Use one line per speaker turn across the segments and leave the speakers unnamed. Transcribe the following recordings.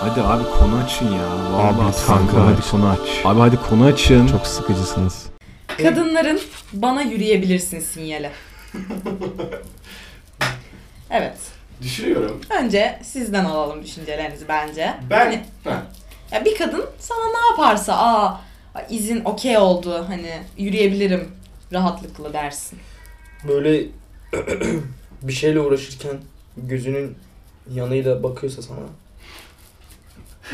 Hadi abi konu açın ya. Vallahi
Abi,
kanka
konu
hadi
aç.
konu aç. Abi hadi konu açın.
Çok sıkıcısınız.
Kadınların bana yürüyebilirsin sinyali. evet.
Düşünüyorum.
Önce sizden alalım düşüncelerinizi bence.
Ben
Hani,
ha,
ya bir kadın sana ne yaparsa aa izin okey oldu hani yürüyebilirim rahatlıkla dersin.
Böyle bir şeyle uğraşırken gözünün yanıyla bakıyorsa sana.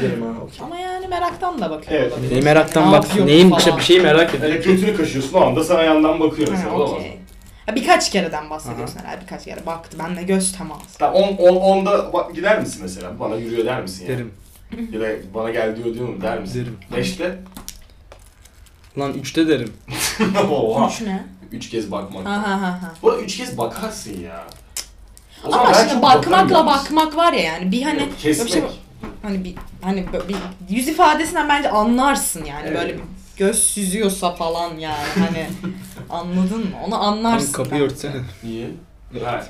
Derim ha okey.
Ama yani meraktan da bakıyor
Evet.
olabilir.
Neyi meraktan
Ne
bak?
yapıyor
Neyin
falan?
bir şeyi merak ediyorum.
hani götünü kaşıyorsun o anda sana yandan bakıyor
Ha,
mesela. olamaz.
okey. Ha, birkaç kereden bahsediyorsun herhalde birkaç kere baktı benle göz teması.
Tamam, on, on, onda bak, gider misin mesela? Bana yürüyor der misin yani?
Derim.
Ya da bana gel diyor diyor mu der misin?
Derim.
Beşte?
Lan üçte derim.
Oha.
Üç ne?
Üç kez bakmak.
Ha ha ha ha.
Bu arada üç kez bakarsın ya. O zaman
Ama
ben
şimdi
çok
bakmakla
bakamıyorum.
bakmak var ya yani bir hani
Yok, kesmek.
bir şey- hani bir hani bö- bir yüz ifadesinden bence anlarsın yani
Evet.
böyle bir göz süzüyorsa falan yani hani anladın mı? Onu anlarsın.
Tam kapıyı
bence.
örtsene.
Niye? Evet.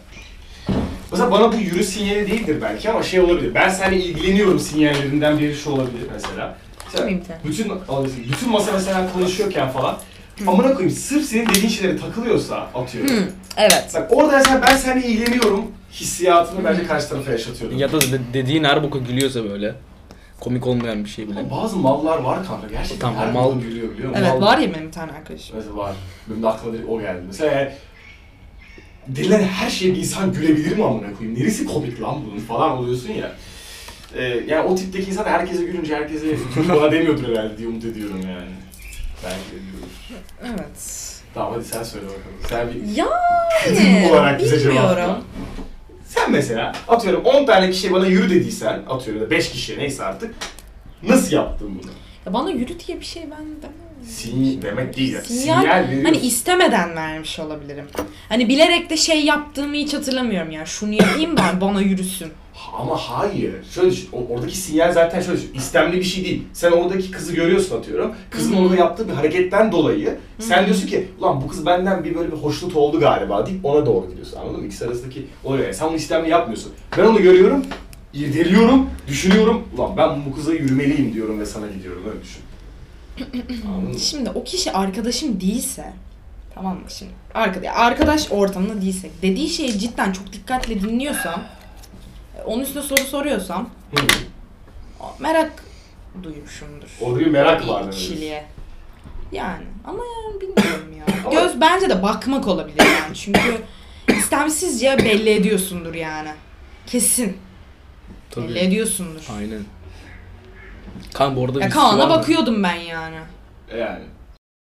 Mesela bana bu yürü sinyali değildir belki ama şey olabilir. Ben seninle ilgileniyorum sinyallerinden biri şu olabilir mesela. Mesela
Kimim te?
bütün, bütün masa mesela konuşuyorken falan amına koyayım sırf senin dediğin şeylere takılıyorsa atıyorum.
Hı, evet.
Bak orada mesela ben seninle ilgileniyorum hissiyatını bence karşı tarafa yaşatıyorum.
Ya da de- dediğin her boka gülüyorsa böyle. Komik olmayan bir şey bile.
Ama bazı mallar var kanka gerçekten.
Tamam,
her
mal-
mal gülüyor biliyor musun?
Evet
Mal-
var ya benim bir tane arkadaşım.
Mesela var. Benim de aklıma direkt o geldi. Mesela yani, denilen her şeye bir insan gülebilir mi amına koyayım? Neresi komik lan bunun falan oluyorsun ya. Ee, yani o tipteki insan herkese gülünce herkese bana demiyordur herhalde diye umut ediyorum yani. Belki de diyorum.
Evet.
Tamam hadi sen söyle bakalım. Sen bir
Yani
olarak bize cevap ver.
bilmiyorum.
Sen mesela atıyorum 10 tane kişi bana yürü dediysen atıyorum da 5 kişi neyse artık nasıl yaptın bunu?
Ya bana yürü diye bir şey ben demem.
Sinyal demek değil ya.
Sinyal,
Sinyal, veriyorsun.
hani istemeden vermiş olabilirim. Hani bilerek de şey yaptığımı hiç hatırlamıyorum ya. Şunu yapayım ben bana yürüsün.
Ha- Ama hayır. Şöyle düşün. o- Oradaki sinyal zaten şöyle düşün. İstemli bir şey değil. Sen oradaki kızı görüyorsun atıyorum. Kızın orada yaptığı bir hareketten dolayı sen diyorsun ki ulan bu kız benden bir böyle bir hoşnut oldu galiba deyip ona doğru gidiyorsun. Anladın mı? İkisi arasındaki oluyor. Yani sen bunu istemli yapmıyorsun. Ben onu görüyorum. irdeliyorum, düşünüyorum. Ulan ben bu kıza yürümeliyim diyorum ve sana gidiyorum. Öyle düşün. Anladın mı?
Şimdi o kişi arkadaşım değilse tamam mı şimdi arkadaş, arkadaş ortamında değilsek dediği şeyi cidden çok dikkatle dinliyorsam e, onun üstüne soru soruyorsam
Hı.
a- merak duymuşumdur.
Orada bir merak var demek.
kişiliğe. Yani ama yani bilmiyorum ya.
Ama-
Göz bence de bakmak olabilir yani çünkü istemsizce belli ediyorsundur yani. Kesin. Belli
Tabii.
ediyorsundur.
Aynen. Kan bu arada
Ya
bir su var
Kaan'a
mı?
bakıyordum ben yani.
Yani.